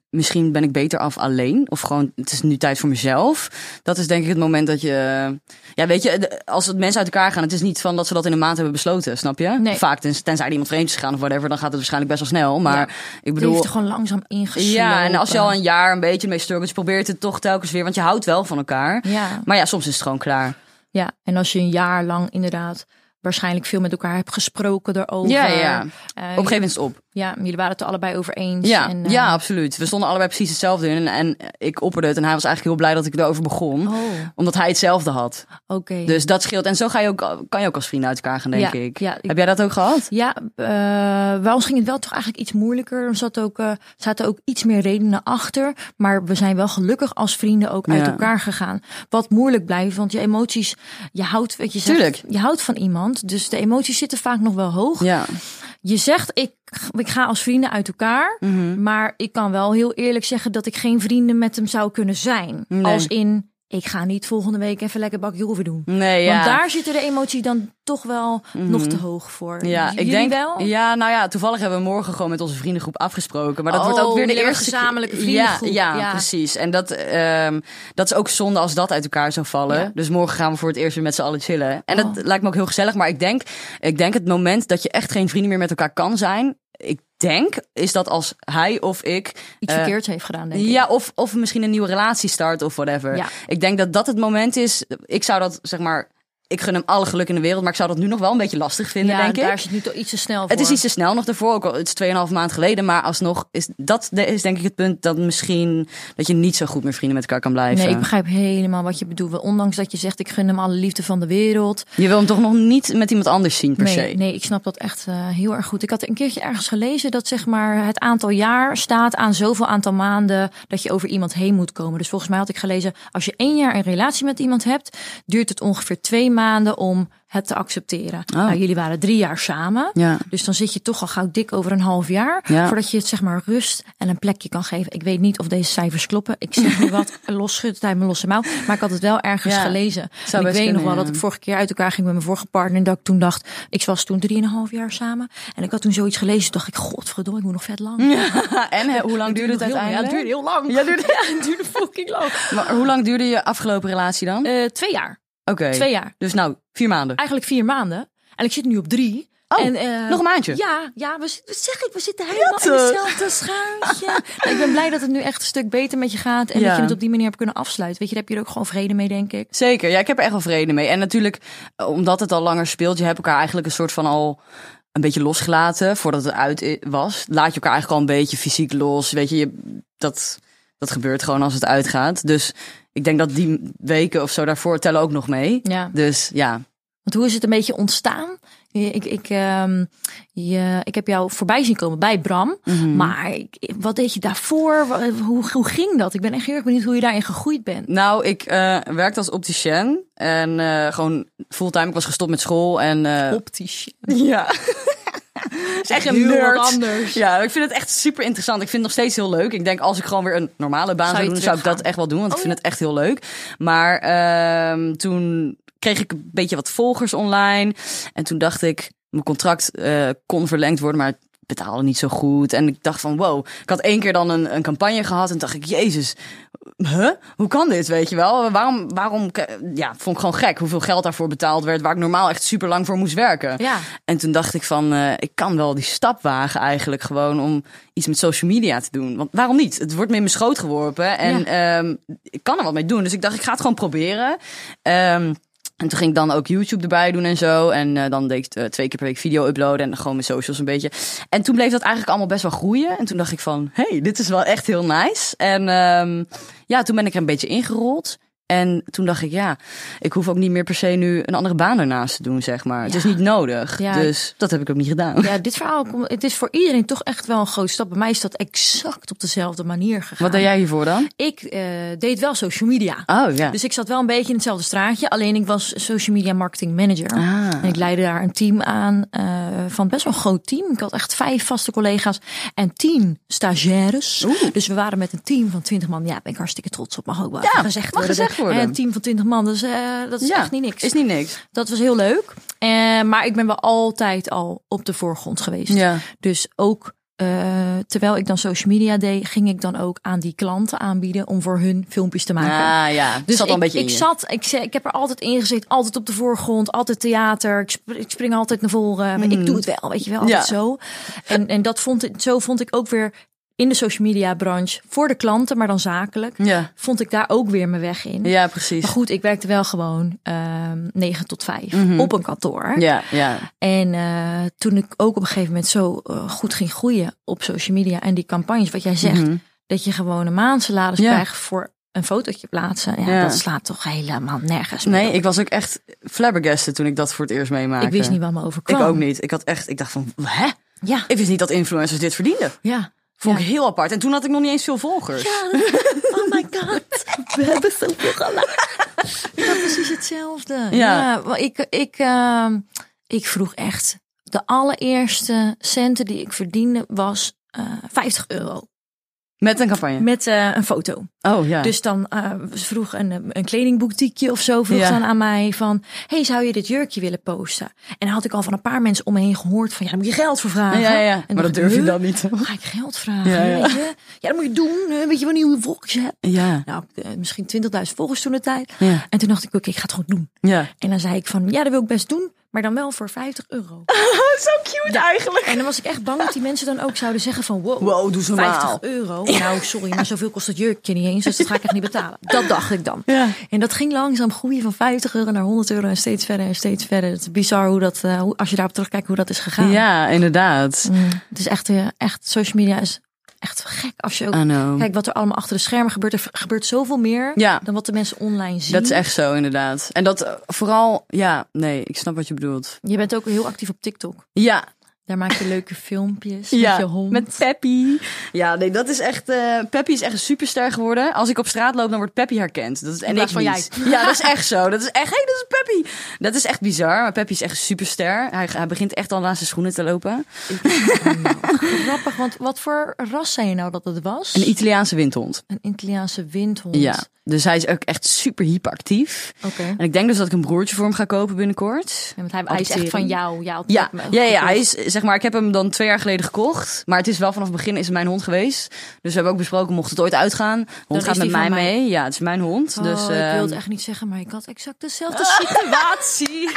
[SPEAKER 2] misschien ben ik beter af alleen. Of gewoon, het is nu tijd voor mezelf. Dat is denk ik het moment dat je... eh, Ja, weet je, de- als het mensen uit elkaar gaan, het is niet van dat ze dat in een maand hebben besloten, snap je?
[SPEAKER 3] Nee.
[SPEAKER 2] Vaak, tens- tenzij er iemand vreemd is gegaan of whatever, dan gaat het waarschijnlijk best wel snel. Maar
[SPEAKER 3] Ja.
[SPEAKER 2] ik
[SPEAKER 3] Die
[SPEAKER 2] bedoel...
[SPEAKER 3] heeft er gewoon langzaam ingeslopen.
[SPEAKER 2] Ja, en als je al een jaar een beetje mee struggelt, je probeert het toch telkens weer, want je houdt wel van elkaar.
[SPEAKER 3] Ja.
[SPEAKER 2] Maar ja, soms is het gewoon klaar.
[SPEAKER 3] Ja, en als je een jaar lang inderdaad waarschijnlijk veel met elkaar hebt gesproken daarover.
[SPEAKER 2] Ja, ja. Op
[SPEAKER 3] Eh,
[SPEAKER 2] Op een gegeven moment is het op.
[SPEAKER 3] Ja, jullie waren het er allebei over eens.
[SPEAKER 2] Ja,
[SPEAKER 3] en, eh,
[SPEAKER 2] ja, absoluut. We stonden allebei precies hetzelfde in. En, en ik opperde het en hij was eigenlijk heel blij dat ik erover begon.
[SPEAKER 3] Oh,
[SPEAKER 2] Omdat hij hetzelfde had.
[SPEAKER 3] oké.
[SPEAKER 2] Dus dat scheelt. En zo ga je ook, kan je ook als vrienden uit elkaar gaan, denk
[SPEAKER 3] Ja,
[SPEAKER 2] ik.
[SPEAKER 3] ja, ik-
[SPEAKER 2] Heb jij dat ook gehad?
[SPEAKER 3] Ja, eh bij ons ging het wel toch eigenlijk iets moeilijker. Er zat ook, eh, zaten ook iets meer redenen achter. Maar we zijn wel gelukkig als vrienden ook uit
[SPEAKER 2] Ja.
[SPEAKER 3] elkaar gegaan. Wat moeilijk blijft, want je emoties... Je houdt, weet je, zegt,
[SPEAKER 2] Tuurlijk.
[SPEAKER 3] je houdt van iemand, dus de emoties zitten vaak nog wel hoog.
[SPEAKER 2] Ja.
[SPEAKER 3] Je zegt, ik, ik ga als vrienden uit elkaar.
[SPEAKER 2] Mhm.
[SPEAKER 3] Maar ik kan wel heel eerlijk zeggen dat ik geen vrienden met hem zou kunnen zijn.
[SPEAKER 2] Nee.
[SPEAKER 3] Als in, ik ga niet volgende week even lekker bakje hoeven doen.
[SPEAKER 2] Nee, ja. Mhm.
[SPEAKER 3] Want daar zitten de emotie dan toch wel nog te hoog voor.
[SPEAKER 2] Ja,
[SPEAKER 3] Jullie
[SPEAKER 2] ik denk
[SPEAKER 3] wel?
[SPEAKER 2] Ja, nou ja, toevallig hebben we morgen gewoon met onze vriendengroep afgesproken. Maar dat
[SPEAKER 3] Oh,
[SPEAKER 2] wordt ook weer de
[SPEAKER 3] jullie hebben
[SPEAKER 2] eerste
[SPEAKER 3] een gezamenlijke
[SPEAKER 2] keer-
[SPEAKER 3] vriendengroep.
[SPEAKER 2] Ja, ja,
[SPEAKER 3] Ja.
[SPEAKER 2] precies. En dat, ehm, dat is ook zonde als dat uit elkaar zou vallen.
[SPEAKER 3] Ja.
[SPEAKER 2] Dus morgen gaan we voor het eerst weer met z'n allen chillen. En
[SPEAKER 3] Oh.
[SPEAKER 2] dat lijkt me ook heel gezellig. Maar ik denk, ik denk het moment dat je echt geen vrienden meer met elkaar kan zijn. Ik denk, is dat als hij of ik
[SPEAKER 3] Iets
[SPEAKER 2] eh,
[SPEAKER 3] verkeerds heeft gedaan, denk ik.
[SPEAKER 2] ja, of, of misschien een nieuwe relatie start of whatever.
[SPEAKER 3] Ja.
[SPEAKER 2] Ik denk dat dat het moment is. Ik zou dat, zeg maar, ik gun hem alle geluk in de wereld, maar ik zou dat nu nog wel een beetje lastig vinden,
[SPEAKER 3] ja,
[SPEAKER 2] denk
[SPEAKER 3] daar
[SPEAKER 2] ik.
[SPEAKER 3] is het nu toch iets te snel voor.
[SPEAKER 2] Het is iets te snel nog daarvoor, ook al het is 2,5 maand geleden, maar alsnog is dat de- is denk ik het punt dat misschien dat je niet zo goed meer vrienden met elkaar kan blijven.
[SPEAKER 3] Nee, ik begrijp helemaal wat je bedoelt. Ondanks dat je zegt, ik gun hem alle liefde van de wereld.
[SPEAKER 2] Je wil hem toch nog niet met iemand anders zien per
[SPEAKER 3] Nee,
[SPEAKER 2] se.
[SPEAKER 3] nee, ik snap dat echt eh, heel erg goed. Ik had een keertje ergens gelezen dat zeg maar, het aantal jaar staat aan zoveel aantal maanden dat je over iemand heen moet komen. Dus volgens mij had ik gelezen, als je één jaar een relatie met iemand hebt, duurt het ongeveer twee maanden om het te accepteren. Nou, jullie waren drie jaar samen.
[SPEAKER 2] Ah. Ja.
[SPEAKER 3] Dus dan zit je toch al gauw dik over een half jaar.
[SPEAKER 2] Ja.
[SPEAKER 3] Voordat je het zeg maar rust en een plekje kan geven. Ik weet niet of deze cijfers kloppen. Ik zeg nu wat losschud uit mijn losse mouw. Maar ik had het wel ergens
[SPEAKER 2] Ja.
[SPEAKER 3] gelezen. En ik weet
[SPEAKER 2] best kunnen,
[SPEAKER 3] nog wel
[SPEAKER 2] ja.
[SPEAKER 3] dat ik vorige keer uit elkaar ging met mijn vorige partner. En dat ik toen dacht, ik was toen drieënhalf jaar samen. En ik had toen zoiets gelezen. Toen dacht ik, godverdomme, ik moet nog vet lang.
[SPEAKER 2] En hè, hoe lang duurde het
[SPEAKER 3] nog heel-
[SPEAKER 2] uiteindelijk?
[SPEAKER 3] Ja, het eh, duurde heel lang.
[SPEAKER 2] Ja, het duurde-
[SPEAKER 3] Ja, het duurde fucking lang.
[SPEAKER 2] Maar hoe lang duurde je afgelopen relatie dan?
[SPEAKER 3] Eh, twee jaar.
[SPEAKER 2] Oké.
[SPEAKER 3] Twee jaar.
[SPEAKER 2] Dus nou, vier maanden.
[SPEAKER 3] Eigenlijk vier maanden. En ik zit nu op drie.
[SPEAKER 2] Oh,
[SPEAKER 3] en, eh,
[SPEAKER 2] nog een maandje?
[SPEAKER 3] Ja, ja we, zit- zeg ik, we zitten helemaal in
[SPEAKER 2] Prettig.
[SPEAKER 3] hetzelfde schuitje. Nou, ik ben blij dat het nu echt een stuk beter met je gaat. En dat
[SPEAKER 2] Ja.
[SPEAKER 3] je het op die manier hebt kunnen afsluiten. Weet je, daar heb je er ook gewoon vrede mee, denk ik.
[SPEAKER 2] Zeker, ja, ik heb er echt wel vrede mee. En natuurlijk, eh, omdat het al langer speelt, je hebt elkaar eigenlijk een soort van al een beetje losgelaten voordat het uit i- was. Laat je elkaar eigenlijk al een beetje fysiek los. Weet je, je dat, dat gebeurt gewoon als het uitgaat. Dus ik denk dat die weken of zo daarvoor tellen ook nog mee.
[SPEAKER 3] Ja.
[SPEAKER 2] Dus ja,
[SPEAKER 3] Want hoe is het een beetje ontstaan? Je- Ik, ik, ehm, je, ik heb jou voorbij zien komen bij Bram. Maar ik- wat deed je daarvoor? Wa- Hoe, hoe ging dat? Ik ben echt heel erg benieuwd hoe je daarin gegroeid bent.
[SPEAKER 2] Nou, ik eh, werkte als opticien en eh, gewoon fulltime. Ik was gestopt met school en... eh,
[SPEAKER 3] Optisch.
[SPEAKER 2] Ja. is echt een
[SPEAKER 3] heel
[SPEAKER 2] nerd.
[SPEAKER 3] wat anders.
[SPEAKER 2] Ja, ik vind het echt super interessant. Ik vind het nog steeds heel leuk. Ik denk als ik gewoon weer een normale baan
[SPEAKER 3] Zou
[SPEAKER 2] zou,
[SPEAKER 3] je
[SPEAKER 2] doen, zou ik dat
[SPEAKER 3] teruggaan?
[SPEAKER 2] echt wel doen. Want
[SPEAKER 3] Oh,
[SPEAKER 2] ik vind
[SPEAKER 3] ja.
[SPEAKER 2] het echt heel leuk. Maar ehm, toen kreeg ik een beetje wat volgers online. En toen dacht ik, mijn contract eh, kon verlengd worden, maar betaalde niet zo goed. En ik dacht van, wow. Ik had één keer dan een, een campagne gehad en dacht ik, jezus, huh? hoe kan dit, weet je wel? Waarom, waarom, ja, vond ik gewoon gek hoeveel geld daarvoor betaald werd, waar ik normaal echt super lang voor moest werken.
[SPEAKER 3] Ja.
[SPEAKER 2] En toen dacht ik van, eh, ik kan wel die stap wagen eigenlijk gewoon om iets met social media te doen. Want waarom niet? Het wordt me in mijn schoot geworpen en ehm, ik kan er wat mee doen. Dus ik dacht, ik ga het gewoon proberen. Ehm, en toen ging ik dan ook YouTube erbij doen en zo. En eh, dan deed ik eh, twee keer per week video uploaden en gewoon mijn socials een beetje. En toen bleef dat eigenlijk allemaal best wel groeien. En toen dacht ik van, hey, dit is wel echt heel nice. En ehm, ja, toen ben ik er een beetje ingerold. En toen dacht ik, ja, ik hoef ook niet meer per se nu een andere baan ernaast te doen, zeg maar. Het is niet nodig.
[SPEAKER 3] Ja.
[SPEAKER 2] Dus dat heb ik ook niet gedaan.
[SPEAKER 3] Ja, dit verhaal, komt- het is voor iedereen toch echt wel een grote stap. Bij mij is dat exact op dezelfde manier gegaan.
[SPEAKER 2] Wat deed jij hiervoor dan?
[SPEAKER 3] Ik eh, deed wel social media.
[SPEAKER 2] Oh ja.
[SPEAKER 3] Dus ik zat wel een beetje in hetzelfde straatje. Alleen ik was social media marketing manager.
[SPEAKER 2] Ah.
[SPEAKER 3] En ik leidde daar een team aan eh, van best wel een groot team. Ik had echt vijf vaste collega's en tien stagiaires. Dus we waren met een team van twintig man. Ja, ben ik hartstikke trots op. Mag ook wel
[SPEAKER 2] Ja,
[SPEAKER 3] even gezegd
[SPEAKER 2] mag
[SPEAKER 3] worden.
[SPEAKER 2] gezegd worden.
[SPEAKER 3] En een team van twintig man, dus, eh, dat is
[SPEAKER 2] Ja,
[SPEAKER 3] echt niet niks.
[SPEAKER 2] Is niet niks.
[SPEAKER 3] Dat was heel leuk. Eh, maar ik ben wel altijd al op de voorgrond geweest.
[SPEAKER 2] Ja.
[SPEAKER 3] Dus ook eh, terwijl ik dan social media deed, ging ik dan ook aan die klanten aanbieden om voor hun filmpjes te maken.
[SPEAKER 2] Ah ja. Dus
[SPEAKER 3] Dus
[SPEAKER 2] zat al
[SPEAKER 3] ik,
[SPEAKER 2] een beetje in
[SPEAKER 3] ik
[SPEAKER 2] je.
[SPEAKER 3] zat, ik, zei- ik heb er altijd in gezeten, altijd op de voorgrond, altijd theater. Ik, sp- ik spring altijd naar voren. maar Ik doe het wel, weet je wel, altijd
[SPEAKER 2] Hmm. Ja.
[SPEAKER 3] zo. En, en dat vond ik, zo vond ik ook weer in de social media branche voor de klanten, maar dan zakelijk,
[SPEAKER 2] Ja.
[SPEAKER 3] vond ik daar ook weer mijn weg in.
[SPEAKER 2] Hmm. Ja, precies.
[SPEAKER 3] Maar goed, ik werkte wel gewoon ehm 9 tot 5 op een kantoor.
[SPEAKER 2] Mhm. Ja, ja.
[SPEAKER 3] En eh, toen ik ook op een gegeven moment zo eh, goed ging groeien op social media en die campagnes, wat jij zegt, dat je gewoon een maandsalaris
[SPEAKER 2] Mhm. Ja.
[SPEAKER 3] krijgt voor een fotootje plaatsen. Ja,
[SPEAKER 2] Ja.
[SPEAKER 3] dat slaat toch helemaal nergens meer
[SPEAKER 2] Nee,
[SPEAKER 3] op.
[SPEAKER 2] ik was ook echt flabbergasted toen ik dat voor het eerst meemaakte.
[SPEAKER 3] ik wist niet wat me
[SPEAKER 2] Ik
[SPEAKER 3] overkwam.
[SPEAKER 2] ook niet. Ik had echt, ik dacht van, hè?
[SPEAKER 3] Ja,
[SPEAKER 2] Ik wist niet dat influencers dit verdienden.
[SPEAKER 3] ja.
[SPEAKER 2] Vond
[SPEAKER 3] ja.
[SPEAKER 2] ik heel apart. En toen had ik nog niet eens veel volgers.
[SPEAKER 3] Ja, dat- Oh my god, we hebben zoveel gelachen. Ik had precies hetzelfde.
[SPEAKER 2] Ja.
[SPEAKER 3] maar ik, ik, ehm, ik vroeg echt. De allereerste centen die ik verdiende was eh 50 euro.
[SPEAKER 2] Met een campagne.
[SPEAKER 3] Met eh, een foto.
[SPEAKER 2] Oh ja.
[SPEAKER 3] Dus dan eh, ze vroeg een, eh, een kledingboutiekje of zo vroeg
[SPEAKER 2] Ja.
[SPEAKER 3] dan aan mij van... hey, zou je dit jurkje willen posten? En dan had ik al van een paar mensen om me heen gehoord van... ja, daar moet je geld voor vragen.
[SPEAKER 2] ja, ja.
[SPEAKER 3] En
[SPEAKER 2] Maar
[SPEAKER 3] dacht
[SPEAKER 2] dat
[SPEAKER 3] ik,
[SPEAKER 2] durf je
[SPEAKER 3] huh?
[SPEAKER 2] dan niet.
[SPEAKER 3] Ga ik geld vragen?
[SPEAKER 2] Ja,
[SPEAKER 3] Ja,
[SPEAKER 2] ja.
[SPEAKER 3] ja. ja dat moet je doen. hè. Weet je wel niet hoeveel volgers je hebt?
[SPEAKER 2] Ja.
[SPEAKER 3] Nou, eh, misschien 20.000 volgers toen de tijd.
[SPEAKER 2] Ja.
[SPEAKER 3] En toen dacht ik, oké, ik ga het gewoon doen.
[SPEAKER 2] Ja.
[SPEAKER 3] En dan zei ik van, ja, dat wil ik best doen. Maar dan wel voor 50 euro.
[SPEAKER 2] Zo cute eigenlijk.
[SPEAKER 3] En dan was ik echt bang dat die mensen dan ook zouden zeggen van... wow,
[SPEAKER 2] Wow, doe ze normaal.
[SPEAKER 3] 50 euro? Nou, sorry, maar zoveel kost dat jurkje niet eens. Dus dat ga ik echt niet betalen. Dat dacht ik dan.
[SPEAKER 2] Ja.
[SPEAKER 3] En dat ging langzaam groeien van 50 euro naar 100 euro en steeds verder en steeds verder. Het is bizar hoe dat, eh, hoe, als je daarop terugkijkt, hoe dat is gegaan.
[SPEAKER 2] Ja, inderdaad.
[SPEAKER 3] Mm, het is echt, eh, echt, social media is echt gek. Als je ook,
[SPEAKER 2] I know.
[SPEAKER 3] kijk wat er allemaal achter de schermen gebeurt. Er gebeurt zoveel meer
[SPEAKER 2] Ja.
[SPEAKER 3] dan wat de mensen online zien.
[SPEAKER 2] Dat is echt zo, inderdaad. En dat eh, vooral, ja, nee, ik snap wat je bedoelt.
[SPEAKER 3] Je bent ook heel actief op TikTok.
[SPEAKER 2] Ja,
[SPEAKER 3] Daar maak je leuke filmpjes
[SPEAKER 2] ja,
[SPEAKER 3] met je hond.
[SPEAKER 2] met Peppy. Ja, nee, dat is echt. eh Peppy is echt een superster geworden. Als ik op straat loop, dan wordt Peppy herkend. Dat is, en ik
[SPEAKER 3] plaats van
[SPEAKER 2] niet. Ja, dat is echt zo. Dat is echt. Hé, dat is Peppy. Dat is echt bizar. Maar Peppy is echt een superster. Hij, hij begint echt al aan zijn schoenen te lopen.
[SPEAKER 3] Grappig, want wat voor ras zei je nou dat het was?
[SPEAKER 2] Een Italiaanse windhond.
[SPEAKER 3] Een Italiaanse windhond.
[SPEAKER 2] Ja. Dus hij is ook echt super hyperactief.
[SPEAKER 3] Oké.
[SPEAKER 2] En ik denk dus dat ik een broertje voor hem ga kopen binnenkort.
[SPEAKER 3] Ja, want hij, hij is echt
[SPEAKER 2] Adopteren.
[SPEAKER 3] van jou. Ja,
[SPEAKER 2] Ja, ja, ja,
[SPEAKER 3] dus-
[SPEAKER 2] hij is, zeg maar, ik heb hem dan twee jaar geleden gekocht. Maar het is wel vanaf het begin is het mijn hond geweest. Dus we hebben ook besproken, mocht het ooit uitgaan. de Hond
[SPEAKER 3] is
[SPEAKER 2] gaat
[SPEAKER 3] die
[SPEAKER 2] met mij
[SPEAKER 3] van mij.
[SPEAKER 2] mee. Ja, het is mijn hond.
[SPEAKER 3] Dus,
[SPEAKER 2] dus Ah.
[SPEAKER 3] ik
[SPEAKER 2] eh,
[SPEAKER 3] wil het echt niet zeggen, maar ik had exact dezelfde situatie.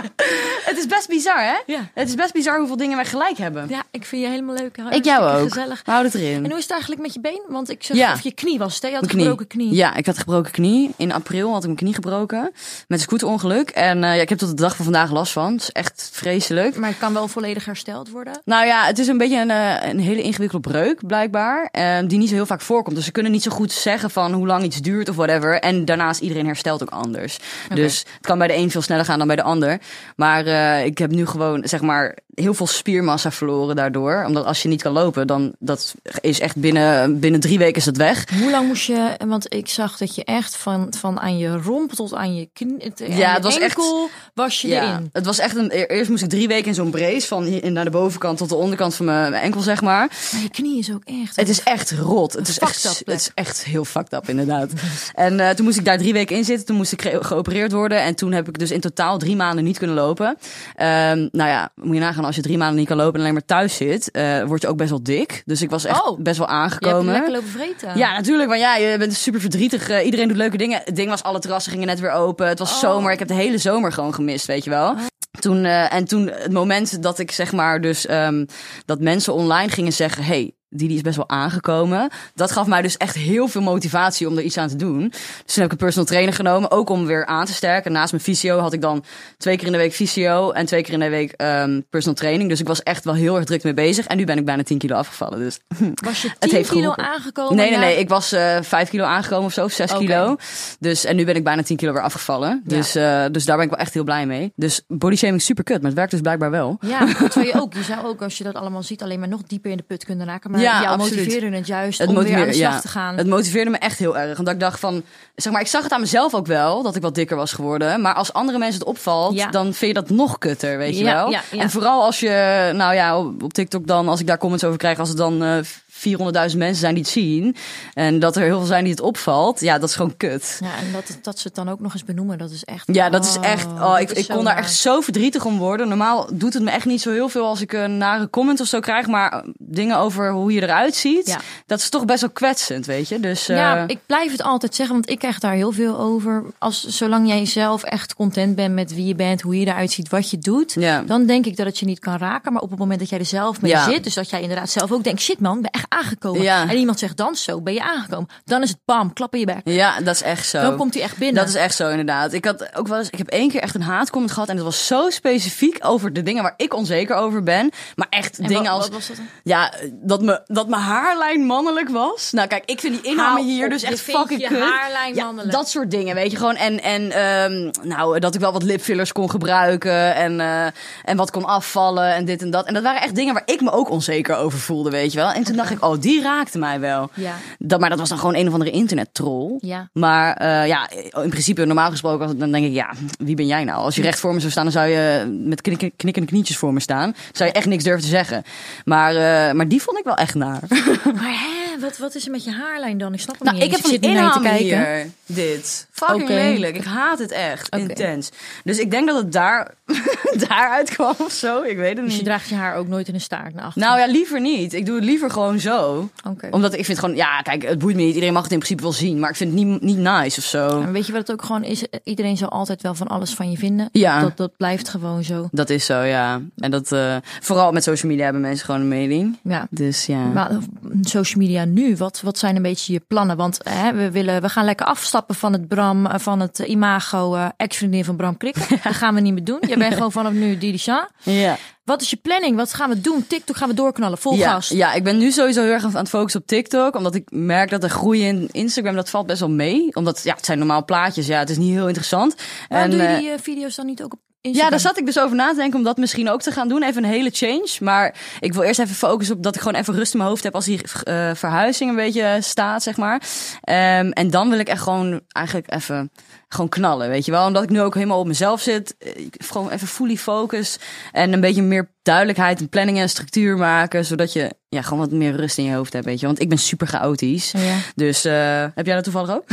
[SPEAKER 2] het is best bizar, hè?
[SPEAKER 3] Ja.
[SPEAKER 2] Het is best bizar hoeveel dingen wij gelijk hebben.
[SPEAKER 3] Ja, ik vind je helemaal leuk. Hartstikke
[SPEAKER 2] ik jou ook.
[SPEAKER 3] Gezellig.
[SPEAKER 2] We houden het erin.
[SPEAKER 3] En hoe is het eigenlijk met je been? Want ik zeg
[SPEAKER 2] Ja.
[SPEAKER 3] of je knie was. het, Hè? Je had
[SPEAKER 2] Mijn
[SPEAKER 3] een gebroken knie.
[SPEAKER 2] Ja, ik had een gebroken knie. In april had ik mijn knie gebroken. Met een scooterongeluk. En eh, ja, ik heb tot de dag van vandaag last van. Het is echt vreselijk.
[SPEAKER 3] Maar het kan wel volledig hersteld worden.
[SPEAKER 2] Nou ja, het is een beetje een, eh, een hele ingewikkelde breuk, blijkbaar. eh, die niet zo heel vaak voorkomt. Dus ze kunnen niet zo goed zeggen van hoe lang iets duurt of whatever. En daarnaast, iedereen herstelt ook anders. Dus het kan bij de een veel sneller gaan dan bij de ander. Maar eh, ik heb nu gewoon, zeg maar, heel veel spiermassa verloren daardoor. Omdat als je niet kan lopen, dan dat is echt binnen, binnen drie weken is dat weg.
[SPEAKER 3] Hoe lang moest je... Want ik zag dat je echt van, van aan je romp tot aan je knie... Het, aan
[SPEAKER 2] Ja,
[SPEAKER 3] je
[SPEAKER 2] het was echt-
[SPEAKER 3] enkel was je
[SPEAKER 2] Ja,
[SPEAKER 3] erin.
[SPEAKER 2] het was echt een. e- Eerst moest ik drie weken in zo'n brace van hier- naar de bovenkant tot de onderkant van mijn mijn enkel, zeg maar.
[SPEAKER 3] Maar je knie is ook echt...
[SPEAKER 2] Het is echt rot. Het is
[SPEAKER 3] Fucked
[SPEAKER 2] echt,
[SPEAKER 3] up
[SPEAKER 2] het
[SPEAKER 3] plek.
[SPEAKER 2] is echt heel fucked up, inderdaad. en eh, toen moest ik daar drie weken in zitten. Toen moest ik ge- geopereerd worden. En toen heb ik dus in totaal drie maanden niet kunnen lopen. Ehm, nou ja, moet je nagaan als als je drie maanden niet kan lopen en alleen maar thuis zit, eh, word je ook best wel dik. Dus ik was echt
[SPEAKER 3] Oh.
[SPEAKER 2] best wel
[SPEAKER 3] Je hebt
[SPEAKER 2] aangekomen.
[SPEAKER 3] lekker lopen vreten.
[SPEAKER 2] Ja, natuurlijk. Maar ja, je bent super verdrietig. Eh, iedereen doet leuke dingen. Het ding was, alle terrassen gingen net weer open. Het was
[SPEAKER 3] Oh.
[SPEAKER 2] zomer. Ik heb de hele zomer gewoon gemist, weet je wel. Toen, eh, en toen het moment dat ik zeg maar dus ehm, dat mensen online gingen zeggen... Hey, die, die is best wel aangekomen. Dat gaf mij dus echt heel veel motivatie om er iets aan te doen. Dus toen heb ik een personal trainer genomen. Ook om weer aan te sterken. Naast mijn fysio had ik dan twee keer in de week fysio. En twee keer in de week ehm, personal training. Dus ik was echt wel heel erg druk mee bezig. En nu ben ik bijna 10 kilo afgevallen. Dus
[SPEAKER 3] Was je 10
[SPEAKER 2] heeft
[SPEAKER 3] kilo
[SPEAKER 2] geholpen.
[SPEAKER 3] aangekomen?
[SPEAKER 2] Nee, nee,
[SPEAKER 3] na-
[SPEAKER 2] nee. Ik was eh 5 kilo aangekomen of zo, of 6
[SPEAKER 3] Oh, Oké.
[SPEAKER 2] kilo. Dus, en nu ben ik bijna 10 kilo weer afgevallen.
[SPEAKER 3] Ja.
[SPEAKER 2] Dus, eh, dus daar ben ik wel echt heel blij mee. Dus body shaming is super kut, maar het werkt dus blijkbaar wel.
[SPEAKER 3] Ja, dat zou je ook. Je zou ook, als je dat allemaal ziet, alleen maar nog dieper in de put kunnen raken. Maar
[SPEAKER 2] Ja,
[SPEAKER 3] jou
[SPEAKER 2] absoluut.
[SPEAKER 3] motiveerde het juist
[SPEAKER 2] Het
[SPEAKER 3] om weer aan de
[SPEAKER 2] motiveerde-
[SPEAKER 3] slag
[SPEAKER 2] ja.
[SPEAKER 3] te gaan.
[SPEAKER 2] Het motiveerde me echt heel erg. Omdat ik dacht van, zeg maar, ik zag het aan mezelf ook wel, dat ik wat dikker was geworden. Maar als andere mensen het opvalt,
[SPEAKER 3] Ja.
[SPEAKER 2] dan vind je dat nog kutter, weet je
[SPEAKER 3] Ja,
[SPEAKER 2] wel.
[SPEAKER 3] ja, ja.
[SPEAKER 2] En vooral als je, nou ja, op, op TikTok dan, als ik daar comments over krijg, als het dan eh 400.000 mensen zijn die het zien. En dat er heel veel zijn die het opvalt. Ja, dat is gewoon kut.
[SPEAKER 3] Ja, en dat, dat ze het dan ook nog eens benoemen, dat is echt...
[SPEAKER 2] Ja, dat is echt. Oh,
[SPEAKER 3] dat
[SPEAKER 2] ik
[SPEAKER 3] is
[SPEAKER 2] ik
[SPEAKER 3] zo
[SPEAKER 2] kon daar
[SPEAKER 3] naar.
[SPEAKER 2] echt zo verdrietig om worden. Normaal doet het me echt niet zo heel veel als ik een nare comment of zo krijg. Maar eh, dingen over hoe je eruit ziet,
[SPEAKER 3] Ja.
[SPEAKER 2] dat is toch best wel kwetsend, weet je. Dus
[SPEAKER 3] Ja,
[SPEAKER 2] eh,
[SPEAKER 3] ik blijf het altijd zeggen, want ik krijg daar heel veel over. Als, zolang jij zelf echt content bent met wie je bent, hoe je eruit ziet, wat je doet,
[SPEAKER 2] Ja.
[SPEAKER 3] dan denk ik dat het je niet kan raken. Maar op het moment dat jij er zelf mee
[SPEAKER 2] Ja.
[SPEAKER 3] zit, dus dat jij inderdaad zelf ook denkt, shit man, ik ben echt aangekomen.
[SPEAKER 2] Ja.
[SPEAKER 3] En iemand zegt dan zo, ben je aangekomen. Dan is het bam, klap in je bek.
[SPEAKER 2] ja, dat is echt zo.
[SPEAKER 3] Dan komt hij echt binnen.
[SPEAKER 2] Dat is echt zo, inderdaad. Ik, had ook wel eens, ik heb één keer echt een haatcomment gehad. En dat was zo specifiek over de dingen waar ik onzeker over ben. Maar echt
[SPEAKER 3] En
[SPEAKER 2] dingen
[SPEAKER 3] wat-
[SPEAKER 2] als.
[SPEAKER 3] wat was dat dan?
[SPEAKER 2] Ja, dat, me, dat mijn haarlijn mannelijk was. Nou, kijk, ik vind die inhammen
[SPEAKER 3] Hou
[SPEAKER 2] hier
[SPEAKER 3] op,
[SPEAKER 2] dus
[SPEAKER 3] je
[SPEAKER 2] echt
[SPEAKER 3] vindt
[SPEAKER 2] fucking
[SPEAKER 3] je
[SPEAKER 2] kut.
[SPEAKER 3] haarlijn
[SPEAKER 2] Ja,
[SPEAKER 3] mannelijk.
[SPEAKER 2] dat soort dingen, weet je gewoon. En, en ehm, nou, dat ik wel wat lipfillers kon gebruiken. En, eh, en wat kon afvallen en dit en dat. En dat waren echt dingen waar ik me ook onzeker over voelde, weet je wel. En toen dacht ik, oh, die raakte mij wel.
[SPEAKER 3] Ja.
[SPEAKER 2] Dat, maar dat was dan gewoon een of andere internettroll.
[SPEAKER 3] Ja.
[SPEAKER 2] Maar eh, ja, in principe, normaal gesproken, was het- dan denk ik, ja, wie ben jij nou? Als je recht voor me zou staan, dan zou je met knikken, knikkende knietjes voor me staan. Zou je echt niks durven te zeggen. Maar, eh, maar die vond ik wel echt naar.
[SPEAKER 3] Maar hè, wat, wat is er met je haarlijn dan? Ik snap het
[SPEAKER 2] Nou,
[SPEAKER 3] niet
[SPEAKER 2] ik
[SPEAKER 3] eens.
[SPEAKER 2] heb van
[SPEAKER 3] zit
[SPEAKER 2] die
[SPEAKER 3] nu naar je
[SPEAKER 2] inhammen hier. Dit. Fucking
[SPEAKER 3] Oké.
[SPEAKER 2] lelijk. Ik haat het echt.
[SPEAKER 3] Oké.
[SPEAKER 2] Intens. Dus ik denk dat het daar, daaruit kwam of zo. Ik weet het
[SPEAKER 3] Dus je
[SPEAKER 2] niet.
[SPEAKER 3] draagt je haar ook nooit in een staart naar achteren?
[SPEAKER 2] Nou ja, liever niet. Ik doe het liever gewoon zo.
[SPEAKER 3] Oké.
[SPEAKER 2] Omdat ik vind gewoon, ja, kijk, het boeit me niet. Iedereen mag het in principe wel zien. Maar ik vind het niet, niet nice of zo.
[SPEAKER 3] En weet je wat het ook gewoon is? Iedereen zal altijd wel van alles van je vinden.
[SPEAKER 2] Ja.
[SPEAKER 3] Dat, dat blijft gewoon zo.
[SPEAKER 2] Dat is zo, ja. En dat, eh, vooral met social media hebben mensen gewoon een mening.
[SPEAKER 3] Ja.
[SPEAKER 2] Dus ja.
[SPEAKER 3] Maar eh, social media nu, wat, wat zijn een beetje je plannen? Want hè, we, willen, we gaan lekker afstappen van het Bram, eh, van het imago eh, ex-vriendin van Bram Krikken. Dat gaan we niet meer doen. Jij bent gewoon vanaf nu Didi Sha.
[SPEAKER 2] ja.
[SPEAKER 3] Wat is je planning? Wat gaan we doen? TikTok gaan we doorknallen, vol
[SPEAKER 2] Ja,
[SPEAKER 3] gas.
[SPEAKER 2] ja, ik ben nu sowieso heel erg aan het focussen op TikTok. Omdat ik merk dat de groei in Instagram, dat valt best wel mee. Omdat, ja, het zijn normaal plaatjes. Ja, het is niet heel interessant.
[SPEAKER 3] Waarom doe
[SPEAKER 2] eh,
[SPEAKER 3] je die eh, video's dan niet ook op Instagram?
[SPEAKER 2] ja, daar zat ik dus over na te denken om dat misschien ook te gaan doen. Even een hele change. Maar ik wil eerst even focussen op dat ik gewoon even rust in mijn hoofd heb als die eh, verhuizing een beetje staat, zeg maar. Ehm, en dan wil ik echt gewoon eigenlijk even gewoon knallen, weet je wel. Omdat ik nu ook helemaal op mezelf zit. eh, ik- Gewoon even fully focus en een beetje meer duidelijkheid en planning en structuur maken. Zodat je ja, gewoon wat meer rust in je hoofd hebt, weet je. Want ik ben super chaotisch.
[SPEAKER 3] Ja.
[SPEAKER 2] Dus eh, heb jij dat toevallig ook?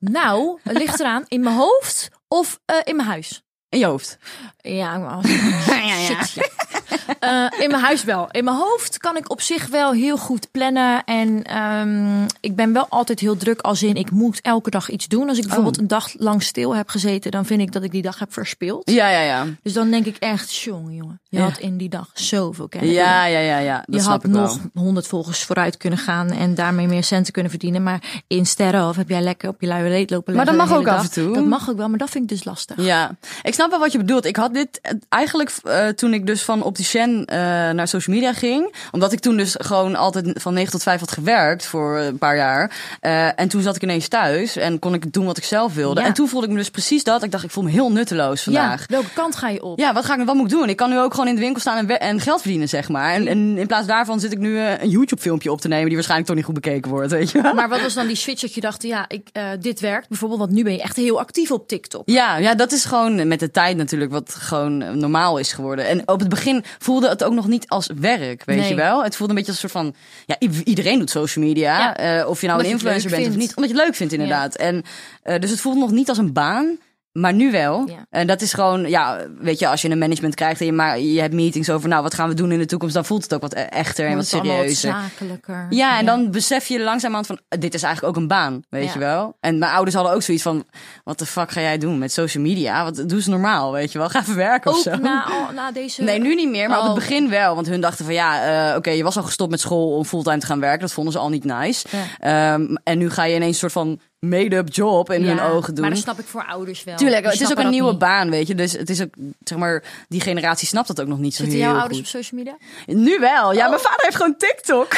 [SPEAKER 3] Nou, het ligt eraan in mijn hoofd of eh, in mijn huis.
[SPEAKER 2] In je hoofd?
[SPEAKER 3] Ja, maar als- Shit, ja. Eh, in mijn huis wel. In mijn hoofd kan ik op zich wel heel goed plannen. En ehm, ik ben wel altijd heel druk. Als in, ik moet elke dag iets doen.
[SPEAKER 2] Oh.
[SPEAKER 3] Als ik bijvoorbeeld een dag lang stil heb gezeten, dan vind ik dat ik die dag heb verspild.
[SPEAKER 2] Ja, ja, ja.
[SPEAKER 3] Dus dan denk ik echt, jongen, jongen, je
[SPEAKER 2] Ja.
[SPEAKER 3] had in die dag zoveel kennis.
[SPEAKER 2] Ja, ja, ja, ja. Dat
[SPEAKER 3] Je
[SPEAKER 2] snap
[SPEAKER 3] had
[SPEAKER 2] ik wel.
[SPEAKER 3] nog 100 volgers vooruit kunnen gaan en daarmee meer centen kunnen verdienen. Maar in sterren of heb jij lekker op je luie reet lopen
[SPEAKER 2] Maar dat
[SPEAKER 3] liggen de
[SPEAKER 2] mag
[SPEAKER 3] hele
[SPEAKER 2] ook
[SPEAKER 3] dag.
[SPEAKER 2] af en toe.
[SPEAKER 3] Dat mag ook wel, maar dat vind ik dus lastig.
[SPEAKER 2] Ja, ik snap wel wat je bedoelt. Ik had dit eh, eigenlijk eh, toen ik dus van opticien eh, naar social media ging. Omdat ik toen dus gewoon altijd van 9 tot 5 had gewerkt voor eh, een paar jaar. Eh, en toen zat ik ineens thuis en kon ik doen wat ik zelf wilde.
[SPEAKER 3] Ja.
[SPEAKER 2] En toen voelde ik me dus precies dat. Ik dacht, ik voel me heel nutteloos vandaag.
[SPEAKER 3] Ja, welke kant ga je op?
[SPEAKER 2] Ja, wat ga ik wat moet ik doen? Ik kan nu ook gewoon in de winkel staan en, we- en geld verdienen, zeg maar. En, en in plaats daarvan zit ik nu eh, een YouTube-filmpje op te nemen die waarschijnlijk toch niet goed bekeken wordt, weet je wel?
[SPEAKER 3] Maar wat was dan die switch dat je dacht, ja, ik, eh, dit werkt bijvoorbeeld, want nu ben je echt heel actief op TikTok.
[SPEAKER 2] Ja, ja, dat is gewoon met de tijd natuurlijk wat gewoon eh, normaal is geworden. En op het begin voelde het ook nog niet als werk, weet
[SPEAKER 3] Nee.
[SPEAKER 2] je wel? Het voelde een beetje als een soort van, ja, i- iedereen doet social media.
[SPEAKER 3] Ja.
[SPEAKER 2] eh, of je nou
[SPEAKER 3] Omdat je het
[SPEAKER 2] een influencer
[SPEAKER 3] leuk
[SPEAKER 2] bent of
[SPEAKER 3] vindt.
[SPEAKER 2] niet. Omdat je het leuk vindt inderdaad. En, eh, dus het voelde nog niet als een baan. Maar nu wel.
[SPEAKER 3] Ja.
[SPEAKER 2] En dat is gewoon, ja, weet je, als je een management krijgt en je, maar, je hebt meetings over, nou, wat gaan we doen in de toekomst, dan voelt het ook wat e- echter en wat
[SPEAKER 3] Wordt het allemaal wat
[SPEAKER 2] serieuzer.
[SPEAKER 3] zakelijker.
[SPEAKER 2] Ja, en dan besef je langzamerhand van, eh, dit is eigenlijk ook een baan, weet
[SPEAKER 3] Ja.
[SPEAKER 2] je wel. En mijn ouders hadden ook zoiets van, wat de fuck ga jij doen met social media? Wat doe ze normaal, weet je wel? Ga even werken of
[SPEAKER 3] Ook
[SPEAKER 2] zo.
[SPEAKER 3] na, al- na deze...
[SPEAKER 2] Nee, nu niet meer, maar op
[SPEAKER 3] Oh.
[SPEAKER 2] het begin wel. Want hun dachten van ja, eh, oké, je was al gestopt met school om fulltime te gaan werken. Dat vonden ze al niet nice. Ehm, en nu ga je ineens een soort van made-up job in hun
[SPEAKER 3] Ja,
[SPEAKER 2] ogen doen.
[SPEAKER 3] Maar dat snap ik voor ouders wel.
[SPEAKER 2] Tuurlijk,
[SPEAKER 3] Die
[SPEAKER 2] het is ook
[SPEAKER 3] snappen
[SPEAKER 2] een
[SPEAKER 3] dat
[SPEAKER 2] nieuwe
[SPEAKER 3] niet.
[SPEAKER 2] baan, weet je. Dus het is ook, zeg maar, die generatie snapt dat ook nog niet zo
[SPEAKER 3] Zitten
[SPEAKER 2] heel
[SPEAKER 3] jouw
[SPEAKER 2] goed.
[SPEAKER 3] ouders Oh. op social media?
[SPEAKER 2] Nu wel. Ja, mijn vader heeft gewoon TikTok.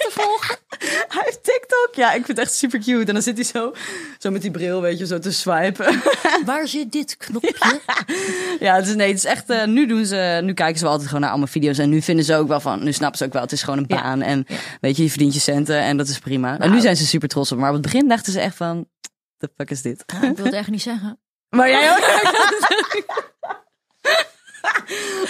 [SPEAKER 2] hij heeft TikTok. Ja, ik vind het echt super cute. En dan zit hij zo, zo met die bril, weet je, zo te swipen.
[SPEAKER 3] Waar zit dit knopje?
[SPEAKER 2] ja, dus nee, het is echt, eh, nu doen ze, nu kijken ze wel altijd gewoon naar allemaal video's. En nu vinden ze ook wel van, nu snappen ze ook wel, het is gewoon een
[SPEAKER 3] Ja. Nou.
[SPEAKER 2] baan. En weet je, je verdient je centen en dat is prima. en nu zijn ze super trots op. Maar op het begin dachten ze echt van, the fuck is dit?
[SPEAKER 3] Ja, ik wil het echt niet zeggen.
[SPEAKER 2] Maar jij ook?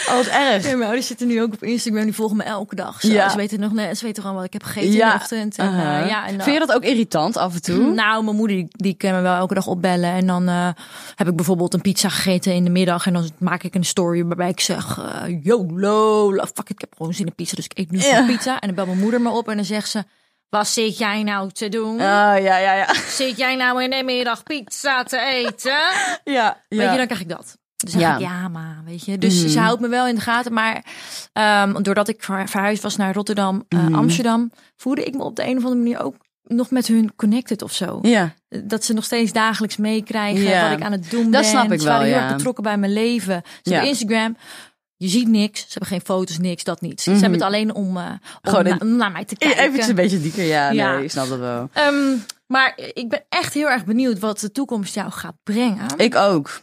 [SPEAKER 3] Oh,
[SPEAKER 2] Alles erg.
[SPEAKER 3] Nee, mijn ouders zitten nu ook op Instagram. Die volgen me elke dag. Zo,
[SPEAKER 2] Ja.
[SPEAKER 3] Ze weten nog net. Ze weten gewoon wat ik heb gegeten in de ochtend. En, eh,
[SPEAKER 2] aha.
[SPEAKER 3] ja, en dan-
[SPEAKER 2] Uh-huh. Vind je dat ook irritant af en toe?
[SPEAKER 3] Nou, mijn moeder die, die kan me wel elke dag opbellen. En dan eh, heb ik bijvoorbeeld een pizza gegeten in de middag. En dan maak ik een story waarbij ik zeg... eh YOLO, la- fuck, ik heb gewoon zin in pizza. Dus ik eet nu
[SPEAKER 2] Ja.
[SPEAKER 3] een pizza. En dan belt mijn moeder me op en dan zegt ze... Wat zit jij nou te doen?
[SPEAKER 2] Ah, ja, ja, ja.
[SPEAKER 3] Zit jij nou in de middag pizza te eten?
[SPEAKER 2] ja, ja.
[SPEAKER 3] Weet je, dan krijg ik dat. Dus dan
[SPEAKER 2] Ja. Mhm.
[SPEAKER 3] ja. ik, ja, maar, weet je. Dus ze houdt me wel in de gaten. Maar ehm, doordat ik ver- verhuisd was naar Rotterdam, eh,
[SPEAKER 2] Mhm.
[SPEAKER 3] Amsterdam... voelde ik me op de een of andere manier ook nog met hun connected of zo.
[SPEAKER 2] Ja.
[SPEAKER 3] Dat ze nog steeds dagelijks meekrijgen
[SPEAKER 2] Ja.
[SPEAKER 3] wat ik aan het doen ben.
[SPEAKER 2] Dat snap ik
[SPEAKER 3] Ze waren
[SPEAKER 2] wel,
[SPEAKER 3] heel
[SPEAKER 2] ja.
[SPEAKER 3] erg betrokken bij mijn leven. Ze
[SPEAKER 2] Ja.
[SPEAKER 3] hebben Instagram... Je ziet niks, ze hebben geen foto's, niks, dat niet. Ze hebben het alleen om, eh, om,
[SPEAKER 2] Mhm. Gewoon
[SPEAKER 3] na-
[SPEAKER 2] een-
[SPEAKER 3] om naar mij te kijken.
[SPEAKER 2] Even een beetje dieker, ja,
[SPEAKER 3] eh, Ja.
[SPEAKER 2] Nee, ik snap dat wel.
[SPEAKER 3] Ehm, maar ik ben echt heel erg benieuwd wat de toekomst jou gaat brengen.
[SPEAKER 2] Ik ook.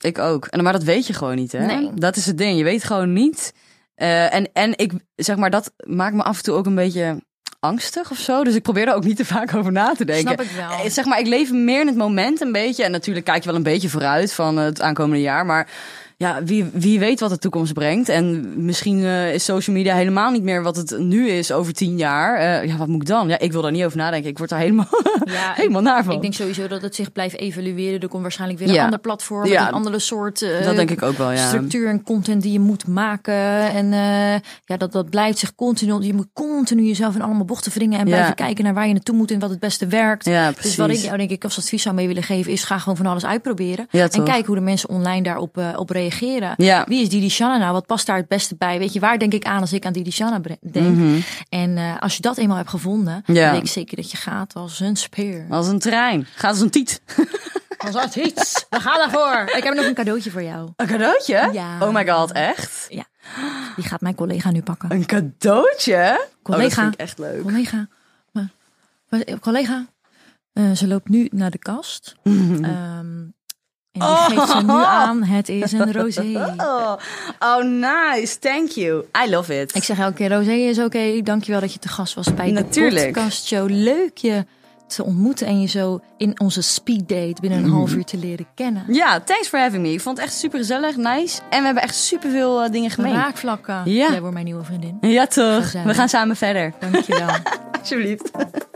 [SPEAKER 2] Ik ook. En, maar dat weet je gewoon niet, hè?
[SPEAKER 3] Nee.
[SPEAKER 2] Dat is het ding. Je weet gewoon niet. Eh, en, en ik zeg maar, dat maakt me af en toe ook een beetje angstig of zo. Dus ik probeer daar ook niet te vaak over na te denken.
[SPEAKER 3] Snap ik wel.
[SPEAKER 2] Eh, Zeg maar, ik leef meer in het moment een beetje. En natuurlijk kijk je wel een beetje vooruit van het aankomende jaar. Maar ja, wie, wie weet wat de toekomst brengt. En misschien eh, is social media helemaal niet meer wat het nu is over tien jaar. Eh, ja, wat moet ik dan? Ja, ik wil daar niet over nadenken. Ik word daar helemaal,
[SPEAKER 3] Ja, ik-
[SPEAKER 2] helemaal naar van.
[SPEAKER 3] Ik denk sowieso dat het zich blijft evalueren. Er komt waarschijnlijk weer een
[SPEAKER 2] Ja.
[SPEAKER 3] ander platform,
[SPEAKER 2] Ja.
[SPEAKER 3] met een andere soort eh,
[SPEAKER 2] dat denk ik ook wel, ja.
[SPEAKER 3] structuur en content die je moet maken. En eh, ja, dat, dat blijft zich continu. Je moet continu jezelf in allemaal bochten wringen en
[SPEAKER 2] Ja.
[SPEAKER 3] blijven kijken naar waar je naartoe moet en wat het beste werkt.
[SPEAKER 2] Ja,
[SPEAKER 3] Dus
[SPEAKER 2] precies.
[SPEAKER 3] wat ik jou denk ik als advies zou mee willen geven is ga gewoon van alles uitproberen.
[SPEAKER 2] Ja,
[SPEAKER 3] en
[SPEAKER 2] toch?
[SPEAKER 3] kijk hoe de mensen online daarop eh, op reageren.
[SPEAKER 2] Ja.
[SPEAKER 3] Wie is Didi Shanna nou? Wat past daar het beste bij? Weet je, waar denk ik aan als ik aan Didi Shanna bre- denk? En eh, als je dat eenmaal hebt gevonden,
[SPEAKER 2] Mhm. Ja.
[SPEAKER 3] dan weet ik zeker dat je gaat als een speer.
[SPEAKER 2] Als een trein. Gaat als een tiet.
[SPEAKER 3] Als dat iets. We gaan daarvoor. Ik heb nog een cadeautje voor jou.
[SPEAKER 2] Een cadeautje?
[SPEAKER 3] Ja.
[SPEAKER 2] Oh my god, echt?
[SPEAKER 3] Ja. Die gaat mijn collega nu pakken.
[SPEAKER 2] Een cadeautje? Oh, dat
[SPEAKER 3] Collega.
[SPEAKER 2] vind ik echt leuk.
[SPEAKER 3] Collega. Maar, maar, eh, collega. eh, ze loopt nu naar de kast. Ehm, en die geeft ze nu aan. Het is een rosé.
[SPEAKER 2] Oh, oh, nice. Thank you. I love it.
[SPEAKER 3] Ik zeg elke keer, Rosé is oké. Dankjewel dat je te gast was bij de
[SPEAKER 2] Natuurlijk.
[SPEAKER 3] podcast show. Leuk je te ontmoeten en je zo in onze speeddate binnen een half uur te leren kennen.
[SPEAKER 2] ja, thanks for having me. Ik vond het echt super gezellig, nice. En we hebben echt super veel dingen gemeen.
[SPEAKER 3] Raakvlakken.
[SPEAKER 2] Ja.
[SPEAKER 3] Jij wordt mijn nieuwe vriendin.
[SPEAKER 2] Ja, toch?
[SPEAKER 3] Gezellig.
[SPEAKER 2] We gaan samen verder.
[SPEAKER 3] Dankjewel.
[SPEAKER 2] Alsjeblieft.